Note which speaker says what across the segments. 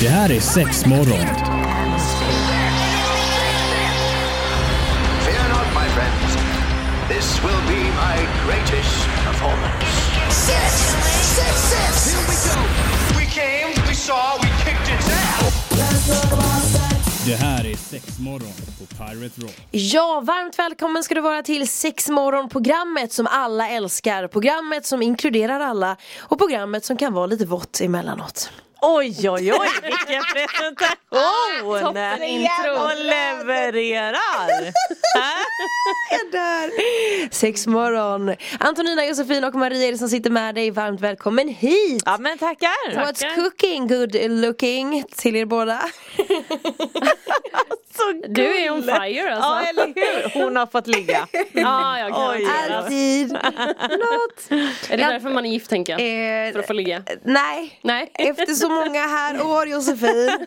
Speaker 1: Det här är sex morgon.
Speaker 2: Fear not, my friends. This will be my greatest performance.
Speaker 3: Six, six, six. Here we go.
Speaker 2: We came, we saw, we kicked its ass.
Speaker 1: Det här är sex morgon på Pirate Rock.
Speaker 4: Ja, varmt välkommen ska du vara till sexmorgonprogrammet som alla älskar. Programmet som inkluderar alla och programmet som kan vara lite vått emellanåt.
Speaker 5: Oj, oj, oj, vilken presentation!
Speaker 3: intro.
Speaker 5: Och levererar!
Speaker 4: Sexmorgon! Antonina, Josefin och Maria är det som sitter med dig. Varmt välkommen hit!
Speaker 5: Ja, men tackar!
Speaker 4: What's cooking good looking till er båda.
Speaker 5: Så
Speaker 6: Du är on
Speaker 5: gulligt.
Speaker 6: fire alltså.
Speaker 5: Ja, eller hur? Hon har fått ligga.
Speaker 6: Ja, jag garanterar.
Speaker 4: Alltid något.
Speaker 6: Är det därför man är gift tänker jag?
Speaker 4: Eh,
Speaker 6: För att få ligga?
Speaker 4: Nej.
Speaker 6: Nej.
Speaker 4: Efter så många här år Josefin,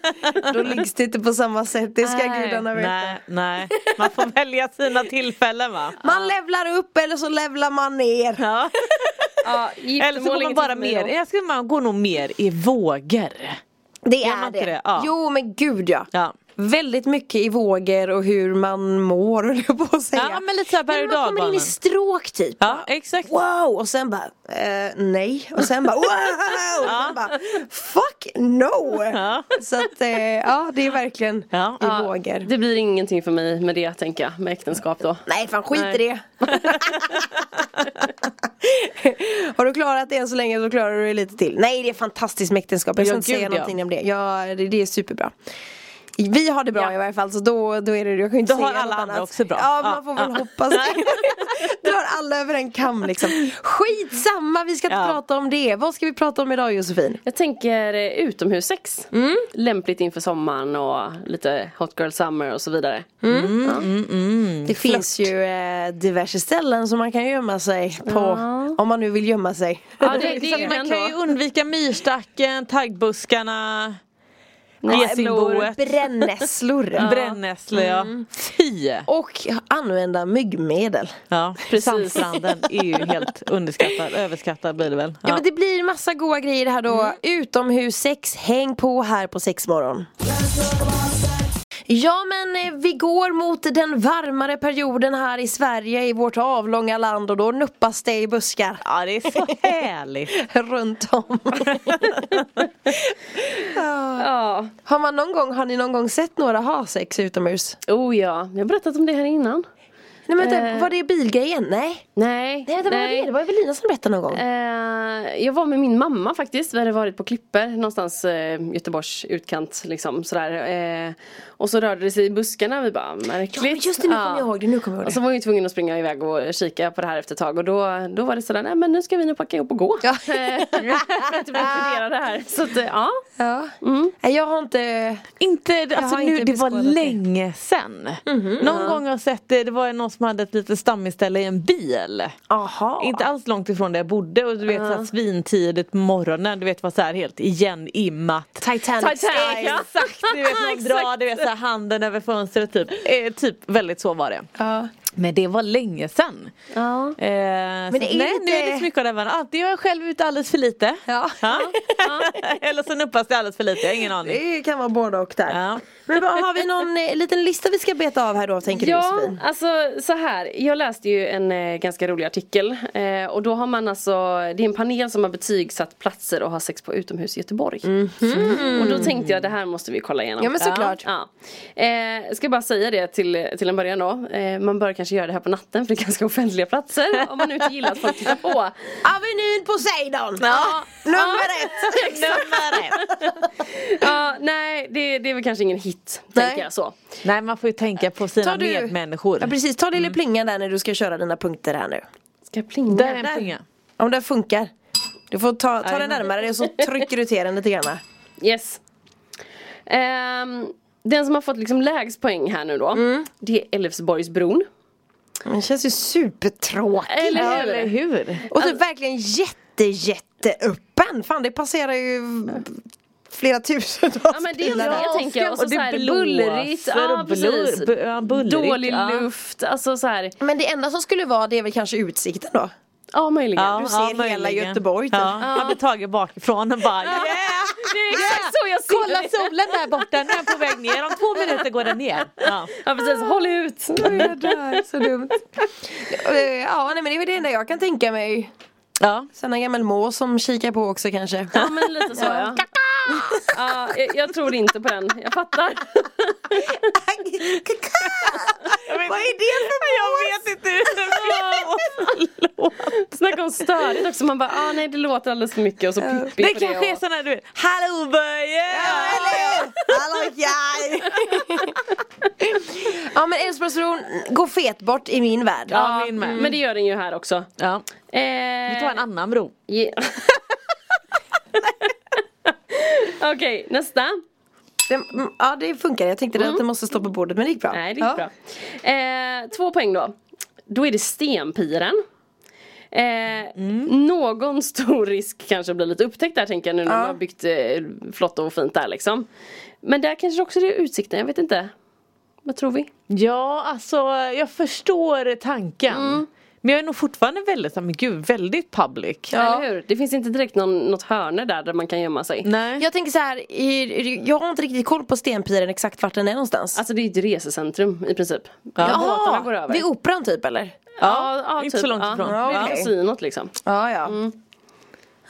Speaker 4: då liggs det inte på samma sätt. Det ska
Speaker 6: Nej.
Speaker 4: gudarna veta.
Speaker 5: Nej, nej. Man får välja sina tillfällen va?
Speaker 4: Man levlar upp eller så levlar man ner.
Speaker 5: Ja.
Speaker 6: Ja,
Speaker 5: Eller så går man bara mer, jag skulle man går nog mer i vågor.
Speaker 4: Det
Speaker 5: Gör
Speaker 4: är
Speaker 5: man
Speaker 4: det.
Speaker 5: inte det? Ja.
Speaker 4: Jo men gud ja.
Speaker 5: Ja.
Speaker 4: Väldigt mycket i vågor och hur man mår höll jag på att säga.
Speaker 5: Ja, men lite så här berg- och
Speaker 4: Man kommer in i
Speaker 5: dalbanan.
Speaker 4: stråk typ.
Speaker 5: Ja, exakt.
Speaker 4: Wow! Och sen bara, eh, nej. Och sen bara, wow! Och sen bara, fuck no!
Speaker 5: Ja.
Speaker 4: Så att, eh, ja det är verkligen
Speaker 5: Ja.
Speaker 4: i vågor.
Speaker 6: Det blir ingenting för mig med det tänker jag, med äktenskap då.
Speaker 4: Nej fan skit i
Speaker 6: Nej.
Speaker 4: det. Har du klarat det än så länge så klarar du det lite till. Nej det är fantastiskt med äktenskap. Jag ska
Speaker 5: Ja,
Speaker 4: inte
Speaker 5: gud,
Speaker 4: säga
Speaker 5: ja.
Speaker 4: någonting om det. Ja, det, det är superbra. Vi har det bra
Speaker 6: Ja.
Speaker 4: i varje fall så då, då är det jag kan ju inte
Speaker 5: Då
Speaker 4: säga
Speaker 5: har alla
Speaker 4: något
Speaker 5: andra
Speaker 4: annat.
Speaker 5: också bra.
Speaker 4: Ja,
Speaker 5: Ja,
Speaker 4: man får väl
Speaker 5: ja.
Speaker 4: hoppas det. Drar alla över en kam liksom. Skitsamma, vi ska inte
Speaker 5: Ja. Mm,
Speaker 4: prata om det. Vad ska vi prata om idag Josefin?
Speaker 6: Jag tänker eh, utomhussex. Lämpligt inför sommaren och lite hot girl summer och så vidare.
Speaker 5: Mm.
Speaker 4: Det finns ju eh, diverse ställen som man kan gömma sig på. Om man nu vill gömma sig.
Speaker 6: Ja, det, det
Speaker 5: Så
Speaker 6: är ju
Speaker 5: att man
Speaker 6: den
Speaker 5: kan ju
Speaker 6: då.
Speaker 5: undvika myrstacken, taggbuskarna,
Speaker 6: Nej,
Speaker 5: Gesingboet.
Speaker 4: Brännässlor.
Speaker 5: Brännässlor ja.
Speaker 4: Mm.
Speaker 6: Mm.
Speaker 5: Fy!
Speaker 4: Och använda myggmedel.
Speaker 5: Ja,
Speaker 6: Precis.
Speaker 5: sandstranden är ju helt underskattad, överskattad blir det väl.
Speaker 4: Ja. men det blir massa goa grejer här då. Utomhussex, häng på här på sexmorgon. Ja men eh, vi går mot den varmare perioden här i Sverige i vårt avlånga land och då nuppas det i buskar
Speaker 5: Ja, det är så härligt.
Speaker 4: runt om.
Speaker 6: Ja.
Speaker 4: har, man någon gång, har ni någon gång sett några ha sex utomhus?
Speaker 6: Oh ja, jag har berättat om det här innan.
Speaker 4: Nej men vänta,
Speaker 6: Eh.
Speaker 4: var det bilgrejen? Nej?
Speaker 6: Nej,
Speaker 4: Nej, det var det. Det var Evelina som berättade någon gång.
Speaker 6: Eh, jag var med min mamma faktiskt. Vi hade varit på Klipper någonstans eh, Göteborgs utkant liksom sådär. Eh, och så rörde det sig i buskarna. Vi bara märkligt.
Speaker 4: Ja, men just det, nu kommer jag ihåg det, nu kommer jag ihåg det.
Speaker 6: Och så var jag ju tvungen att springa iväg och kika på det här efter ett tag. Och då, då var det sådär, nej men nu ska vi nog packa ihop och gå.
Speaker 4: Ja.
Speaker 6: Eh, för att det blir förvirrade här. Så att, eh, ja.
Speaker 4: Ja. Nej, Jag har inte
Speaker 5: Inte, alltså
Speaker 4: har
Speaker 5: nu,
Speaker 4: inte
Speaker 5: det var
Speaker 4: beskådat det. Mhm.
Speaker 5: länge sedan. Någon gång har jag sett det, det var någon som hade ett litet stammisställe i en bil.
Speaker 4: Aha.
Speaker 5: Inte alls långt ifrån där jag bodde och du vet uh. svintidigt på morgonen, du vet vad så här helt igenimmat.
Speaker 4: Titanic
Speaker 6: Titanic,
Speaker 4: style.
Speaker 6: ja.
Speaker 5: Exakt, du vet man drar du vet, så här, handen över fönstret typ. Eh, typ väldigt så var det.
Speaker 4: Ja.
Speaker 5: Men det var länge sedan. Eh,
Speaker 6: Ja.
Speaker 5: men
Speaker 4: det är
Speaker 5: nej,
Speaker 4: lite-
Speaker 5: nu är det så mycket av den varan. Antingen gör jag själv ut alldeles för lite.
Speaker 4: Ja.
Speaker 5: Eller så nuppas det alldeles för lite, jag har ingen aning.
Speaker 4: Det kan vara både och där.
Speaker 5: Ja.
Speaker 4: Men vad, har vi någon eh, liten lista vi ska beta av här då tänker du
Speaker 6: Ja,
Speaker 4: Josefin?
Speaker 6: alltså så här. Jag läste ju en eh, ganska rolig artikel. Eh, och då har man alltså, det är en panel som har betygsatt platser och har sex på utomhus i Göteborg. Och då tänkte jag det här måste vi kolla
Speaker 4: Mhm.
Speaker 6: igenom.
Speaker 4: Ja, men såklart.
Speaker 6: Ja. Eh, ska bara säga det till, till en början då. Eh, man bör kanske göra det här på natten för det är ganska offentliga platser. om man nu inte gillar att folk tittar på.
Speaker 4: Avenyn Poseidon! Ja. Nummer ett!
Speaker 5: Nummer ett.
Speaker 6: Ja, nej, det, det är väl kanske ingen hit.
Speaker 4: Nej.
Speaker 6: Tänker jag så.
Speaker 5: Nej man får ju tänka på sina
Speaker 4: Tar du-
Speaker 5: medmänniskor.
Speaker 4: Ja precis, ta lille plingan där när du ska köra dina punkter här nu.
Speaker 6: Ska jag plinga?
Speaker 5: Där är en plinga.
Speaker 4: Om den funkar. Du får ta, ta
Speaker 5: Ja,
Speaker 4: den
Speaker 5: det-
Speaker 4: närmare dig och så trycker du till den lite grann.
Speaker 6: Yes. Ehm, den som har fått liksom lägst poäng här nu då.
Speaker 5: Mm.
Speaker 6: Det är Älvsborgsbron.
Speaker 4: Den känns ju supertråkig.
Speaker 6: Eller
Speaker 5: Ja,
Speaker 6: hur?
Speaker 5: eller hur?
Speaker 4: Och
Speaker 6: Alltså-
Speaker 4: typ verkligen jätte jätteöppen. Fan det passerar ju flera tusentals
Speaker 6: Ja men det är
Speaker 4: bilar där.
Speaker 6: det tänker jag. Och så,
Speaker 5: Och det
Speaker 6: så här
Speaker 5: blåser
Speaker 6: bullrigt.
Speaker 5: och
Speaker 6: Ja, precis.
Speaker 5: blur- bu- ja, bullrigt,
Speaker 6: Dålig
Speaker 5: ja.
Speaker 6: luft. Alltså så här.
Speaker 4: Men det enda som skulle vara det är väl kanske utsikten då?
Speaker 6: Ja möjligen.
Speaker 4: Du ser hela
Speaker 5: möjligen.
Speaker 4: Göteborg, typ.
Speaker 5: Ja. Man blir tagen bakifrån och bara yeah!
Speaker 6: det är exakt så jag ser
Speaker 5: Kolla
Speaker 6: det.
Speaker 5: solen där borta, nu är den på väg ner. Om två minuter går den ner. Ja.
Speaker 6: Ja precis, håll ut.
Speaker 4: Jag dör, så dumt. Eh, Ja, nej, men det är väl det enda jag kan tänka mig.
Speaker 5: Ja.
Speaker 4: Sen en gammal mås som kikar på också kanske.
Speaker 6: Ja men lite så ja. ja jag, jag tror inte på den, jag fattar.
Speaker 4: Vad är det för Jag vet inte.
Speaker 6: Snacka om störigt också, man bara ah, nej det låter alldeles för mycket och så pippig
Speaker 5: Det
Speaker 6: för det.
Speaker 5: kanske är
Speaker 6: och-
Speaker 5: sån här du vet, hallå Börje!
Speaker 4: Hallå! Hallå jag! Ja men Älvsborgsbron går fet bort i min värld.
Speaker 5: Ja, min med.
Speaker 6: Mm. Men det gör den ju här också.
Speaker 5: Ja.
Speaker 6: Eh,
Speaker 5: Vi tar en annan bro.
Speaker 6: ge- Eh, Okej, nästa.
Speaker 4: Det, mm, ja det funkar, jag tänkte att det måste stå på bordet men det gick bra.
Speaker 6: Mm. Nej, det gick
Speaker 4: ja.
Speaker 6: bra. Eh, två poäng då. Då är det stenpiren. Eh,
Speaker 4: Mm.
Speaker 6: Någon stor risk kanske blir lite upptäckt där tänker jag nu när man har byggt eh, flott och fint där liksom. Men där kanske också det är utsikten, jag vet inte. Vad tror vi?
Speaker 5: Ja, alltså jag förstår tanken. Men jag är nog fortfarande väldigt, men gud, väldigt public.
Speaker 6: Eller hur? Det finns inte direkt någon, något hörne där där man kan gömma sig.
Speaker 4: Mm.
Speaker 5: Nej.
Speaker 4: Jag tänker så här, i- jag har inte riktigt koll på Stenpiren exakt vart den är någonstans.
Speaker 6: Alltså det är ju ett resecentrum i princip. Ja. båtarna går över.
Speaker 4: vid operan typ eller?
Speaker 6: ja,
Speaker 5: inte så långt ifrån.
Speaker 6: Ja,
Speaker 4: Ja,
Speaker 6: ja.
Speaker 4: okej.
Speaker 6: Kasinot liksom.
Speaker 4: Ja ja. Nej.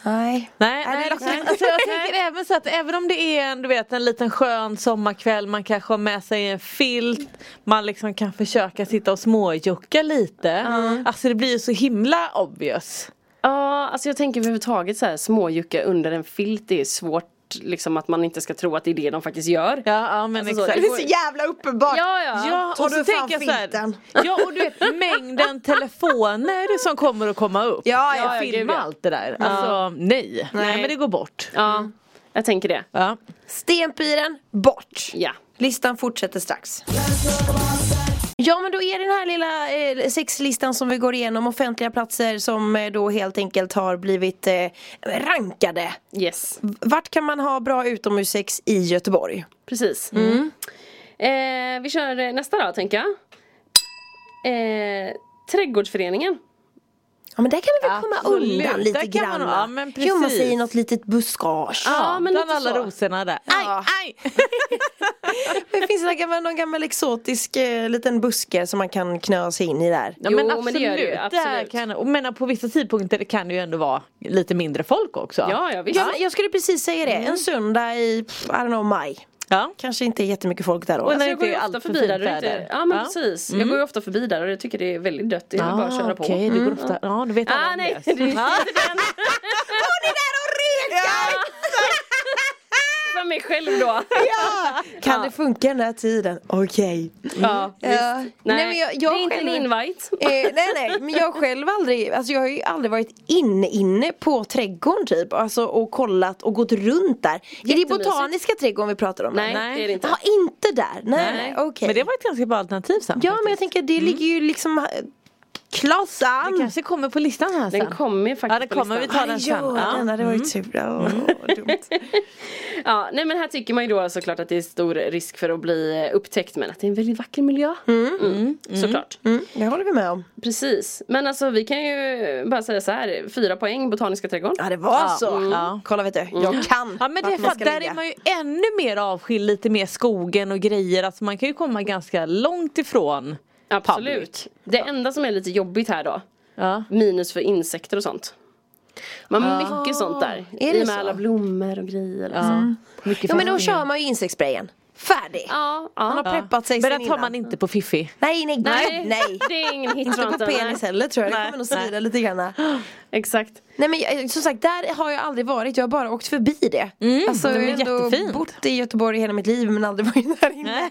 Speaker 5: Nej,
Speaker 4: Nej,
Speaker 5: nej,
Speaker 4: det är
Speaker 5: nej.
Speaker 4: liksom-
Speaker 5: Alltså, jag tänker även så att även om det är en, du vet, en liten skön sommarkväll, man kanske har med sig en filt, man liksom kan försöka sitta och småjucka lite. Alltså det blir ju så himla obvious.
Speaker 6: Ja, alltså jag tänker överhuvudtaget så här småjucka under en filt det är svårt liksom att man inte ska tro att det är det de faktiskt gör.
Speaker 5: Ja, ja men
Speaker 6: Alltså så,
Speaker 5: exakt.
Speaker 6: det går-
Speaker 4: jävla uppenbart.
Speaker 6: Ja, ja.
Speaker 5: Ja,
Speaker 4: Tar
Speaker 5: och
Speaker 4: du
Speaker 5: så
Speaker 4: fram
Speaker 5: tänker jag så här,
Speaker 4: filten?
Speaker 5: Ja och du vet mängden telefoner som kommer att komma upp.
Speaker 4: Ja, ja,
Speaker 5: jag
Speaker 6: gud,
Speaker 5: filmar
Speaker 6: ja.
Speaker 5: allt det där. Alltså nej. nej. men det går bort.
Speaker 6: Ja, jag tänker det.
Speaker 5: Ja.
Speaker 4: Stenpiren, bort.
Speaker 6: Ja.
Speaker 4: Listan fortsätter strax. Ja men då är det den här lilla eh, sexlistan som vi går igenom, offentliga platser som eh, då helt enkelt har blivit eh, rankade.
Speaker 6: Yes,
Speaker 4: Vart kan man ha bra utomhussex i Göteborg?
Speaker 6: precis. Eh, vi kör eh, nästa då, tänker jag. Eh, trädgårdsföreningen.
Speaker 4: Ja men där kan vi väl komma
Speaker 5: Absolut,
Speaker 4: undan lite
Speaker 5: där kan man-
Speaker 4: grann va?
Speaker 5: ja, men precis.
Speaker 4: Gömma sig i något litet buskage.
Speaker 6: Ja, men
Speaker 5: Bland
Speaker 6: lite
Speaker 5: alla
Speaker 6: så.
Speaker 5: rosorna där.
Speaker 4: Ja.
Speaker 5: Aj,
Speaker 4: Men finns det någon, någon gammal exotisk eh, liten buske som man kan knö sig in i där?
Speaker 5: Ja,
Speaker 6: Jo,
Speaker 5: men
Speaker 6: men
Speaker 5: absolut.
Speaker 6: det gör det ju,
Speaker 5: Där
Speaker 6: absolut.
Speaker 5: kan, och menar, på vissa tidpunkter kan det ju ändå vara lite mindre folk också.
Speaker 6: Ja, ja visst.
Speaker 4: Jag, jag skulle precis säga det,
Speaker 5: Mm.
Speaker 4: en söndag i, pff, I don't know, maj.
Speaker 5: ja.
Speaker 4: Kanske inte jättemycket folk där då.
Speaker 5: Och
Speaker 6: Alltså,
Speaker 5: när det
Speaker 6: jag går
Speaker 5: inte
Speaker 6: ju
Speaker 5: är
Speaker 6: ofta
Speaker 5: allt för
Speaker 6: förbi
Speaker 5: fint
Speaker 6: där och det inte
Speaker 5: väder.
Speaker 6: Ja men
Speaker 5: Ja.
Speaker 6: precis. Jag går ju ofta förbi där och jag tycker det är väldigt dött. Det är bara att köra på.
Speaker 5: Ah,
Speaker 6: Mm.
Speaker 5: Okej, det går ofta. Ja, du vet alla
Speaker 6: Ah,
Speaker 5: om
Speaker 6: nej, det
Speaker 5: det.
Speaker 6: är inte
Speaker 5: Ja.
Speaker 6: den.
Speaker 4: Hon är där och rekar!
Speaker 6: För mig själv då.
Speaker 4: Ja! Kan det funka den här tiden? Okej.
Speaker 6: Ja,
Speaker 4: Ja.
Speaker 6: visst. Nej,
Speaker 4: Nej, men jag- jag
Speaker 6: det är inte en
Speaker 4: själv-
Speaker 6: invite.
Speaker 4: Eh, nej nej men jag själv aldrig, alltså jag har ju aldrig varit inne inne på trädgården typ Alltså och kollat och gått runt där Är det
Speaker 6: Jättemysigt.
Speaker 4: botaniska trädgården vi pratar om?
Speaker 6: Nej,
Speaker 4: eller?
Speaker 6: det är det inte.
Speaker 4: Ja inte där, nej nej okej
Speaker 5: Men det var ett ganska bra alternativ sen.
Speaker 4: Ja men jag tänker det ligger ju liksom eh, Klas an!
Speaker 5: Det kanske kommer på listan här sen.
Speaker 6: Den kommer
Speaker 5: Ja,
Speaker 6: ju faktiskt
Speaker 5: den
Speaker 6: på
Speaker 5: kommer. Vi
Speaker 6: listan.
Speaker 5: tar den sen.
Speaker 4: Ja, mm.
Speaker 5: Ja.
Speaker 4: den hade varit tur. Ja, vad dumt.
Speaker 6: Ja, nej men här tycker man ju då såklart att det är stor risk för att bli upptäckt men att det är en väldigt vacker miljö. Mm, Såklart.
Speaker 4: Mm, det håller vi med om.
Speaker 6: Precis. Men alltså vi kan ju bara säga så här, fyra poäng Botaniska trädgården.
Speaker 4: Ja det var så.
Speaker 5: Mm. Ja.
Speaker 4: Kolla vet du, jag kan.
Speaker 5: Ja men det
Speaker 4: vart
Speaker 5: är för
Speaker 4: man
Speaker 5: att
Speaker 4: ska
Speaker 5: där
Speaker 4: ligga.
Speaker 5: är man ju ännu mer avskild, lite mer skogen och grejer. Alltså man kan ju komma ganska långt ifrån.
Speaker 6: Absolut.
Speaker 5: public.
Speaker 6: Det enda som är lite jobbigt här då,
Speaker 5: Ja.
Speaker 6: minus för insekter och sånt. Man har mycket sånt där.
Speaker 4: Är
Speaker 6: I
Speaker 4: det
Speaker 6: och med
Speaker 4: så?
Speaker 6: alla blommor och grejer. Liksom.
Speaker 5: Mycket
Speaker 4: Ja men då
Speaker 5: fästingar.
Speaker 4: kör man ju insektssprayen. Färdig!
Speaker 6: Ja, ja.
Speaker 4: Man har preppat sig
Speaker 5: Men
Speaker 4: sen
Speaker 5: den tar
Speaker 4: innan.
Speaker 5: man inte på Fiffi.
Speaker 4: Nej nej nej.
Speaker 6: Nej,
Speaker 4: nej.
Speaker 6: det är ingen hit
Speaker 4: Inte
Speaker 6: tror jag
Speaker 4: på penis
Speaker 6: nej.
Speaker 4: heller tror jag, det
Speaker 5: Alltså, Nej,
Speaker 4: kommer nog
Speaker 5: nej.
Speaker 4: svida lite grann.
Speaker 6: Exakt.
Speaker 4: Nej men jag- som sagt, där har jag aldrig varit, jag har bara åkt förbi det. alltså,
Speaker 5: Mm. det
Speaker 4: jag
Speaker 5: är
Speaker 4: har ändå
Speaker 5: jättefint.
Speaker 4: bott i Göteborg hela mitt liv men aldrig varit där inne.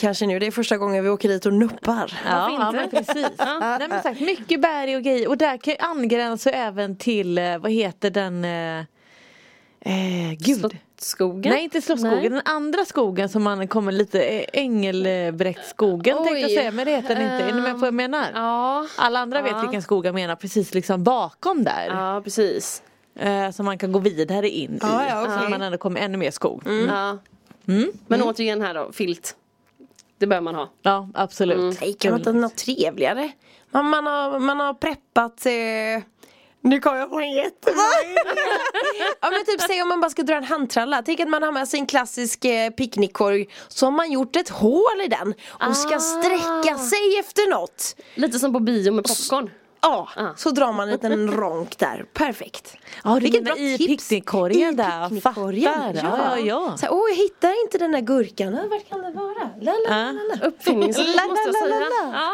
Speaker 4: Kanske nu, det är första gången vi åker dit och nuppar.
Speaker 5: Ja,
Speaker 6: inte?
Speaker 5: ja men precis. Nej, men sagt, mycket berg och grejer och där kan ju angränsar även till, eh, vad heter den, eh, eh, gud.
Speaker 6: Slottsskogen?
Speaker 5: Nej inte Slottsskogen, den andra skogen som man kommer lite, eh, Engelbrektsskogen tänkte jag
Speaker 6: Oj.
Speaker 5: säga men det heter den inte, är ni med på vad jag menar?
Speaker 6: Ja.
Speaker 5: Alla andra vet vilken skog jag menar, precis liksom bakom där.
Speaker 6: Ja, precis.
Speaker 5: Eh, som man kan gå vidare in
Speaker 4: Ja,
Speaker 5: i.
Speaker 4: ja, okej.
Speaker 5: Så man ändå kommer ännu mer skog. Mm.
Speaker 6: Ja. Men återigen här då, filt. Det bör man ha.
Speaker 5: Ja
Speaker 4: Mm.
Speaker 5: absolut.
Speaker 4: Nej, kan man inte ha något trevligare? Man, man, har, man har preppat eh, Nu kom jag på en jättebra Ja men typ säg om man bara ska dra en handtralla Tänk att man har med sig en klassisk eh, picknickkorg Så har man gjort ett hål i den och ska
Speaker 6: Ah.
Speaker 4: sträcka sig efter något
Speaker 6: Lite som på bio med popcorn.
Speaker 4: Ja,
Speaker 6: Ah.
Speaker 4: så drar man en liten ronk där, perfekt
Speaker 5: Ja du
Speaker 4: Vilket
Speaker 5: menar
Speaker 4: bra
Speaker 5: i
Speaker 4: tips.
Speaker 5: picknickkorgen där, jag
Speaker 4: picknickkorgen,
Speaker 5: fattar. Ja, ja, ja.
Speaker 4: Så här, åh jag hittar inte den där gurkan, Ah, vart kan den vara? La, la, la,
Speaker 5: Ah.
Speaker 4: la, la.
Speaker 6: Uppfinningsrikt
Speaker 4: La, la,
Speaker 6: måste jag
Speaker 4: la,
Speaker 6: säga.
Speaker 4: la, la.
Speaker 6: Ja.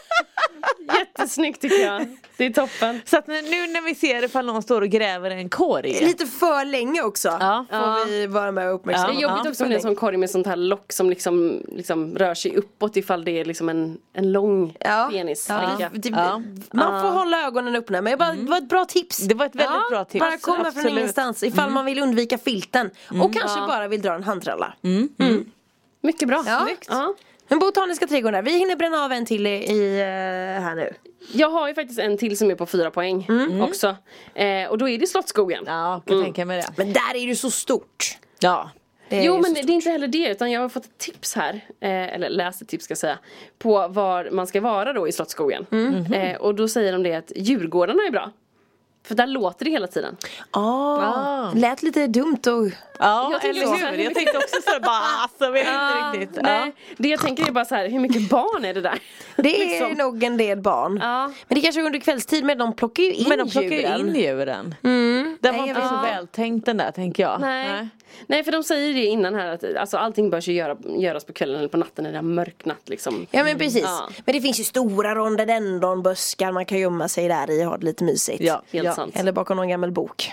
Speaker 6: Jättesnyggt tycker jag. Det är toppen.
Speaker 5: Så att nu när vi ser ifall någon står och gräver en korg.
Speaker 4: Lite för länge också
Speaker 5: Ah. Ja.
Speaker 4: får
Speaker 6: Ja.
Speaker 4: vi vara med och
Speaker 6: Det är
Speaker 4: uppmärksamma
Speaker 5: Ja,
Speaker 6: jobbigt
Speaker 5: ja.
Speaker 6: också om det är en sån korg med sånt här lock som liksom, liksom rör sig uppåt ifall det är liksom en, en lång
Speaker 4: Ja.
Speaker 6: penis.
Speaker 4: Ja.
Speaker 6: tänker jag.
Speaker 4: Det,
Speaker 5: Ja. Ah. Mm.
Speaker 4: Man får hålla ögonen öppna men jag bara, det var ett bra tips
Speaker 5: Det var ett väldigt bra tips.
Speaker 4: Bara komma från
Speaker 5: Absolut. Mm.
Speaker 4: ingenstans ifall man vill undvika filten och kanske bara vill dra en handtralla
Speaker 5: Mm.
Speaker 6: Mycket bra.
Speaker 4: Ja.
Speaker 6: Snyggt. Ja.
Speaker 4: Men botaniska trädgården, där. vi hinner bränna av en till i, i eh, här nu
Speaker 6: Jag har ju faktiskt en till som är på fyra poäng
Speaker 4: Mm.
Speaker 6: också. Eh, och då är det Slottsskogen.
Speaker 5: Ja, kan tänka mig det.
Speaker 4: Men där är det ju så stort
Speaker 5: Ja.
Speaker 4: Det är
Speaker 6: Jo
Speaker 4: ju
Speaker 6: men
Speaker 4: så-
Speaker 6: det är inte heller det utan jag har fått ett tips här eh, Eller läst ett tips ska jag säga På var man ska vara då i Slottsskogen
Speaker 4: Mm. Mm-hmm.
Speaker 6: eh, Och då säger de det att Djurgårdarna är bra För där låter det hela tiden
Speaker 4: Ah,
Speaker 5: Ah.
Speaker 4: Lät lite dumt och
Speaker 5: Ja,
Speaker 6: Jag tänkte
Speaker 5: eller
Speaker 6: också så här,
Speaker 5: hur? Jag tänkte också så här, bara alltså vet
Speaker 4: Ah.
Speaker 5: inte riktigt.
Speaker 6: Nej,
Speaker 5: Ja.
Speaker 6: Eh, Det jag tänker är bara så här, hur mycket barn är det där?
Speaker 4: Det är
Speaker 6: Liksom.
Speaker 4: nog en del barn
Speaker 6: Ja.
Speaker 4: Men det kanske är under kvällstid men de plockar ju in
Speaker 5: Men de plockar ju
Speaker 4: djuren.
Speaker 5: in djuren. Mm. Den var
Speaker 4: Nej, jag
Speaker 5: inte så
Speaker 4: vet.
Speaker 5: vältänkt den där tänker jag.
Speaker 6: Nej. Nej. för de säger det innan här att alltså, allting bör ju göra, göras på kvällen eller på natten när det har mörknat liksom
Speaker 4: Ja men precis.
Speaker 6: Ja.
Speaker 4: Men det finns ju stora rondodendronbuskar man kan gömma sig där i och ha det lite mysigt.
Speaker 5: Ja,
Speaker 6: Helt
Speaker 5: ja.
Speaker 6: sant
Speaker 4: Eller bakom någon gammal bok.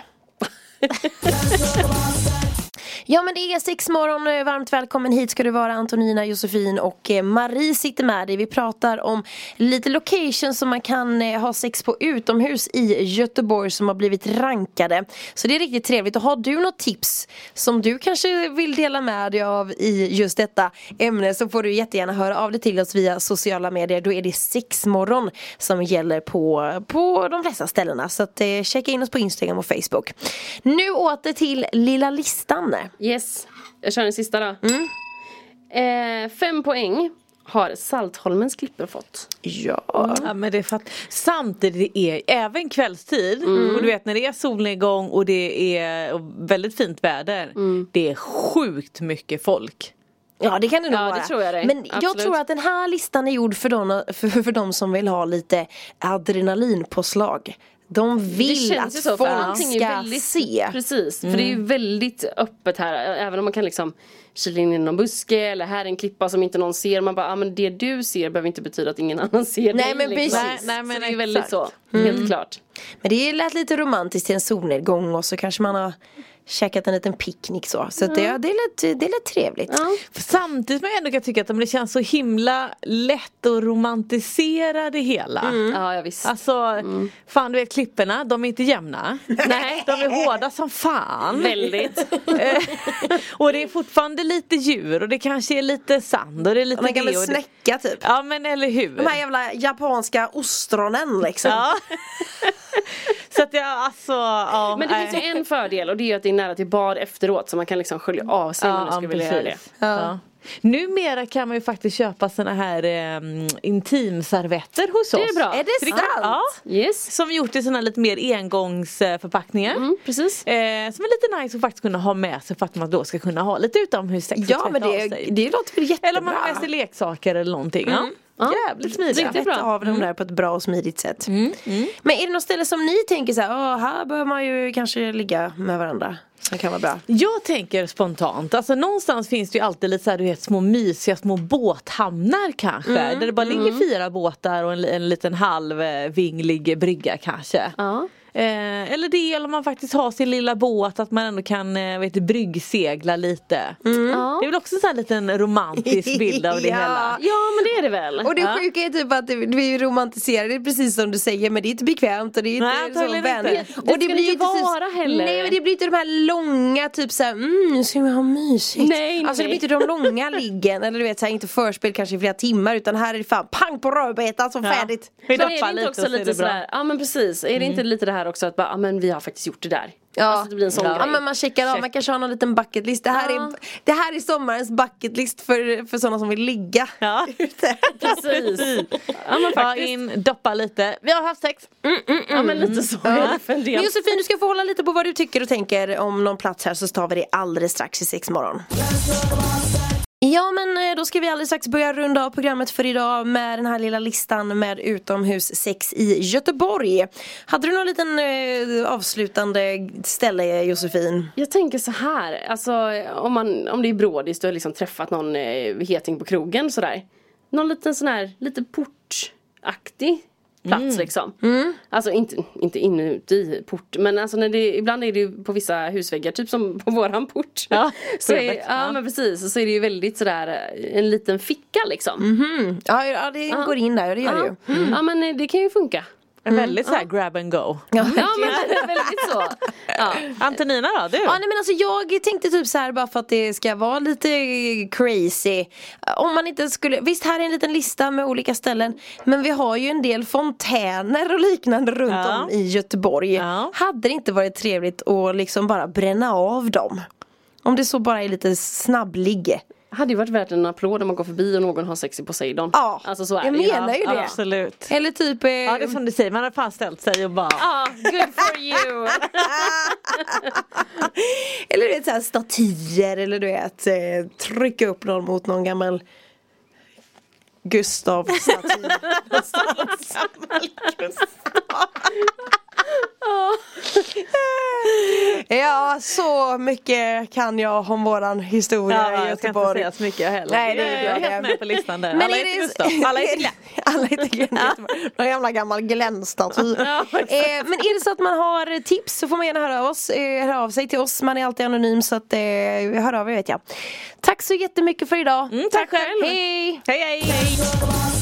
Speaker 4: Ja men det är sex morgon, Eh, varmt välkommen hit ska du vara Antonina, Josefin och eh, Marie sitter med dig. Vi pratar om lite locations som man kan eh, ha sex på utomhus i Göteborg som har blivit rankade. Så det är riktigt trevligt och har du något tips som du kanske vill dela med dig av i just detta ämne så får du jättegärna höra av dig till oss via sociala medier. Då är det sexmorgon som gäller på, på de flesta ställena. Så att, eh, checka in oss på Instagram och Facebook. Nu åter till lilla listan.
Speaker 6: Yes, jag kör den sista då
Speaker 4: Mm.
Speaker 6: eh, Fem poäng har Saltholmens klippor fått
Speaker 4: Ja.
Speaker 5: Ja, men det är fatt... Samtidigt, det är även kvällstid och du vet när det är solnedgång och det är väldigt fint väder. Det är sjukt mycket folk.
Speaker 4: ja det kan det nog
Speaker 6: Ja, det
Speaker 4: vara.
Speaker 6: tror jag dig.
Speaker 4: Men jag
Speaker 6: Absolut.
Speaker 4: tror att den här listan är gjord för de, för, för de som vill ha lite adrenalinpåslag. De vill att folk
Speaker 6: allting är
Speaker 4: ska
Speaker 6: väldigt-
Speaker 4: se. Mm.
Speaker 6: Precis, för det är ju väldigt öppet här. Ä- Även om man kan liksom kila in i någon buske eller här är en klippa som inte någon ser. Man bara, ah, men det du ser behöver inte betyda att ingen annan ser
Speaker 4: Nej,
Speaker 6: dig.
Speaker 4: men precis.
Speaker 6: liksom.
Speaker 4: Mm.
Speaker 6: Så
Speaker 5: Nej, nej, men
Speaker 6: det är ju väldigt så,
Speaker 5: exakt.
Speaker 6: helt klart.
Speaker 4: Men det lät lite romantiskt till en solnedgång och så kanske man har käkat en liten picknick så. Så att det, ja, det, lät, det lät trevligt.
Speaker 6: Ja.
Speaker 5: För Samtidigt som jag ändå kan tycka att det känns så himla lätt att romantisera det hela.
Speaker 6: Ja, ja, visst.
Speaker 5: Alltså,
Speaker 6: Mm.
Speaker 5: fan du vet klipporna, de är inte jämna.
Speaker 6: Nej.
Speaker 5: De är hårda som fan.
Speaker 6: Väldigt.
Speaker 5: Eh, och det är fortfarande lite djur och det kanske är lite sand och det är lite
Speaker 4: Man kan
Speaker 5: det
Speaker 4: väl
Speaker 5: och det.
Speaker 4: snäcka typ.
Speaker 5: Ja men eller hur.
Speaker 4: De här jävla japanska ostronen liksom.
Speaker 5: Ja. Så att jag alltså, ja.
Speaker 6: Men det finns ju
Speaker 5: nej.
Speaker 6: en fördel och det är ju att det är nära till bar efteråt så man kan liksom skölja av sig om man
Speaker 5: Ja,
Speaker 6: skulle
Speaker 5: ja,
Speaker 6: vilja göra det.
Speaker 5: precis. Ja. Numera kan man ju faktiskt köpa såna här eh, intimservetter hos
Speaker 6: är
Speaker 5: oss.
Speaker 6: bra.
Speaker 4: Är det
Speaker 5: Så
Speaker 4: sant?
Speaker 5: Ja.
Speaker 6: Yes,
Speaker 5: Som gjort i såna lite mer engångsförpackningar.
Speaker 6: mm, precis.
Speaker 5: Eh, som är lite nice att faktiskt kunna ha med sig för att man då ska kunna ha lite utomhussex och
Speaker 4: Ja men
Speaker 5: tvätta
Speaker 4: det,
Speaker 5: av sig.
Speaker 4: det låter väl jättebra. Mm.
Speaker 5: Eller om man har med sig leksaker eller någonting. Ja.
Speaker 6: Ja.
Speaker 5: Mm. Jävligt smidigt. Mm,
Speaker 6: Riktigt. Det är
Speaker 4: tvätta
Speaker 6: bra.
Speaker 4: av dem där på ett bra och smidigt sätt. Men är det något ställe som ni tänker så här, "Åh, här behöver man ju kanske ligga med varandra som kan vara bra?
Speaker 5: Jag tänker spontant, alltså någonstans finns det ju alltid lite så här, du vet, små mysiga små båthamnar kanske.
Speaker 6: Mm,
Speaker 5: Där det bara ligger fyra båtar och en, li- en liten halv eh, vinglig brygga kanske.
Speaker 6: Ja.
Speaker 5: Eh, eller det, eller om man faktiskt har sin lilla båt att man ändå kan eh, vet, du, bryggsegla lite.
Speaker 6: Ja.
Speaker 5: Det är väl också en sån här liten romantisk bild av det
Speaker 4: Ja.
Speaker 5: hela.
Speaker 6: Mm. ja, men det är det väl.
Speaker 4: Och det sjuka är typ att det- vi romantiserar det precis som du säger men det är inte bekvämt och det är inte
Speaker 5: Nej,
Speaker 4: så
Speaker 5: antagligen inte.
Speaker 4: vänligt.
Speaker 5: Det
Speaker 4: Och
Speaker 6: ska det
Speaker 4: ju
Speaker 6: inte
Speaker 4: så-
Speaker 6: vara heller.
Speaker 4: Nej men det blir inte de här långa typ såhär, mm nu ska vi ha mysigt.
Speaker 6: Nej,
Speaker 4: alltså
Speaker 6: nej.
Speaker 4: det blir inte de långa liggen eller du vet såhär inte förspel kanske i flera timmar utan här är det fan pang på rödbetan som färdigt.
Speaker 5: Vi
Speaker 6: Men är
Speaker 5: doppar
Speaker 6: det inte
Speaker 5: lite
Speaker 6: också
Speaker 5: och så är
Speaker 6: lite
Speaker 5: det bra. Mm.
Speaker 6: sådär, ja men precis, är det inte lite det här också att bara, ja men vi "Ah, har faktiskt gjort det där
Speaker 4: Ja.
Speaker 6: Alltså det blir en sån
Speaker 4: ja.
Speaker 6: grej.
Speaker 4: ja men man checkar av,
Speaker 6: Check.
Speaker 4: man kanske har någon liten bucket list. Det här,
Speaker 6: Ja.
Speaker 4: är, det här är sommarens bucket list för, för sådana som vill ligga
Speaker 5: Ja.
Speaker 4: ute.
Speaker 6: Precis. Ja men
Speaker 5: Ta
Speaker 6: faktiskt.
Speaker 5: in, doppa lite. Vi har haft sex.
Speaker 6: Ja men lite så. Ja.
Speaker 4: Men Josefin du ska få hålla lite på vad du tycker och tänker om någon plats här så tar vi det alldeles strax i sex morgon. Ja men eh, då ska vi alldeles strax börja runda av programmet för idag med den här lilla listan med utomhussex i Göteborg. Hade du någon liten eh, avslutande ställe Josefin?
Speaker 6: Jag tänker så här, alltså om, man, om det är brådis, du har liksom träffat någon eh, heting på krogen sådär. Någon liten sån här, lite portaktig plats
Speaker 5: Mm.
Speaker 6: liksom. Alltså inte, inte inuti port, men alltså när det, ibland är det ju på vissa husväggar, typ som på våran port.
Speaker 5: Ja,
Speaker 6: så är,
Speaker 5: trevligt.
Speaker 6: ja men precis, så är det ju väldigt sådär eh, en liten ficka liksom.
Speaker 4: Ja, ja det går in där, det gör det ju.
Speaker 6: Ja. ja men eh, det kan ju funka.
Speaker 5: Väldigt så här
Speaker 6: Mm.
Speaker 5: grab and go.
Speaker 4: Ja.
Speaker 6: Ja men det är väldigt så. Ja.
Speaker 5: Antonina då, du?
Speaker 4: Ja, nej, men alltså, jag tänkte typ så här bara för att det ska vara lite crazy. Om man inte skulle, visst här är en liten lista med olika ställen. Men vi har ju en del fontäner och liknande runt
Speaker 5: Ja.
Speaker 4: om i Göteborg.
Speaker 5: Ja.
Speaker 4: Hade det inte varit trevligt att liksom bara bränna av dem? Om det så bara är lite snabbligge.
Speaker 6: Hade ju varit värt en applåd om man går förbi och någon har sex i Poseidon.
Speaker 4: Ja,
Speaker 6: alltså så är
Speaker 4: jag
Speaker 6: det ju.
Speaker 4: menar ju det.
Speaker 5: Absolut.
Speaker 4: Eller typ eh,
Speaker 5: Ja det är som du säger, man har fan ställt sig och bara
Speaker 6: Ah, good for you!
Speaker 4: Eller du vet så här statyer eller du vet eh, trycka upp någon mot någon gammal Gustav staty. ja så mycket kan jag om våran historia
Speaker 5: Ja,
Speaker 4: i
Speaker 5: jag ska
Speaker 4: Göteborg.
Speaker 5: inte säga så mycket heller.
Speaker 4: Nej, det är
Speaker 5: jag
Speaker 4: bra
Speaker 5: helt
Speaker 4: det.
Speaker 5: med på listan där.
Speaker 4: Men
Speaker 5: alla
Speaker 4: är
Speaker 5: heter
Speaker 4: det-
Speaker 5: Gustav, alla heter Glenn.
Speaker 4: Alla heter Glenn i Göteborg. Någon jävla gammal Glenn-staty. eh, men är det så att man har tips så får man gärna höra av, oss, eh, höra av sig till oss. Man är alltid anonym så att, eh, hör av er vet jag. Tack så jättemycket för idag.
Speaker 5: Mm, tack Mm, själv.
Speaker 4: Hej!
Speaker 5: Hej hej!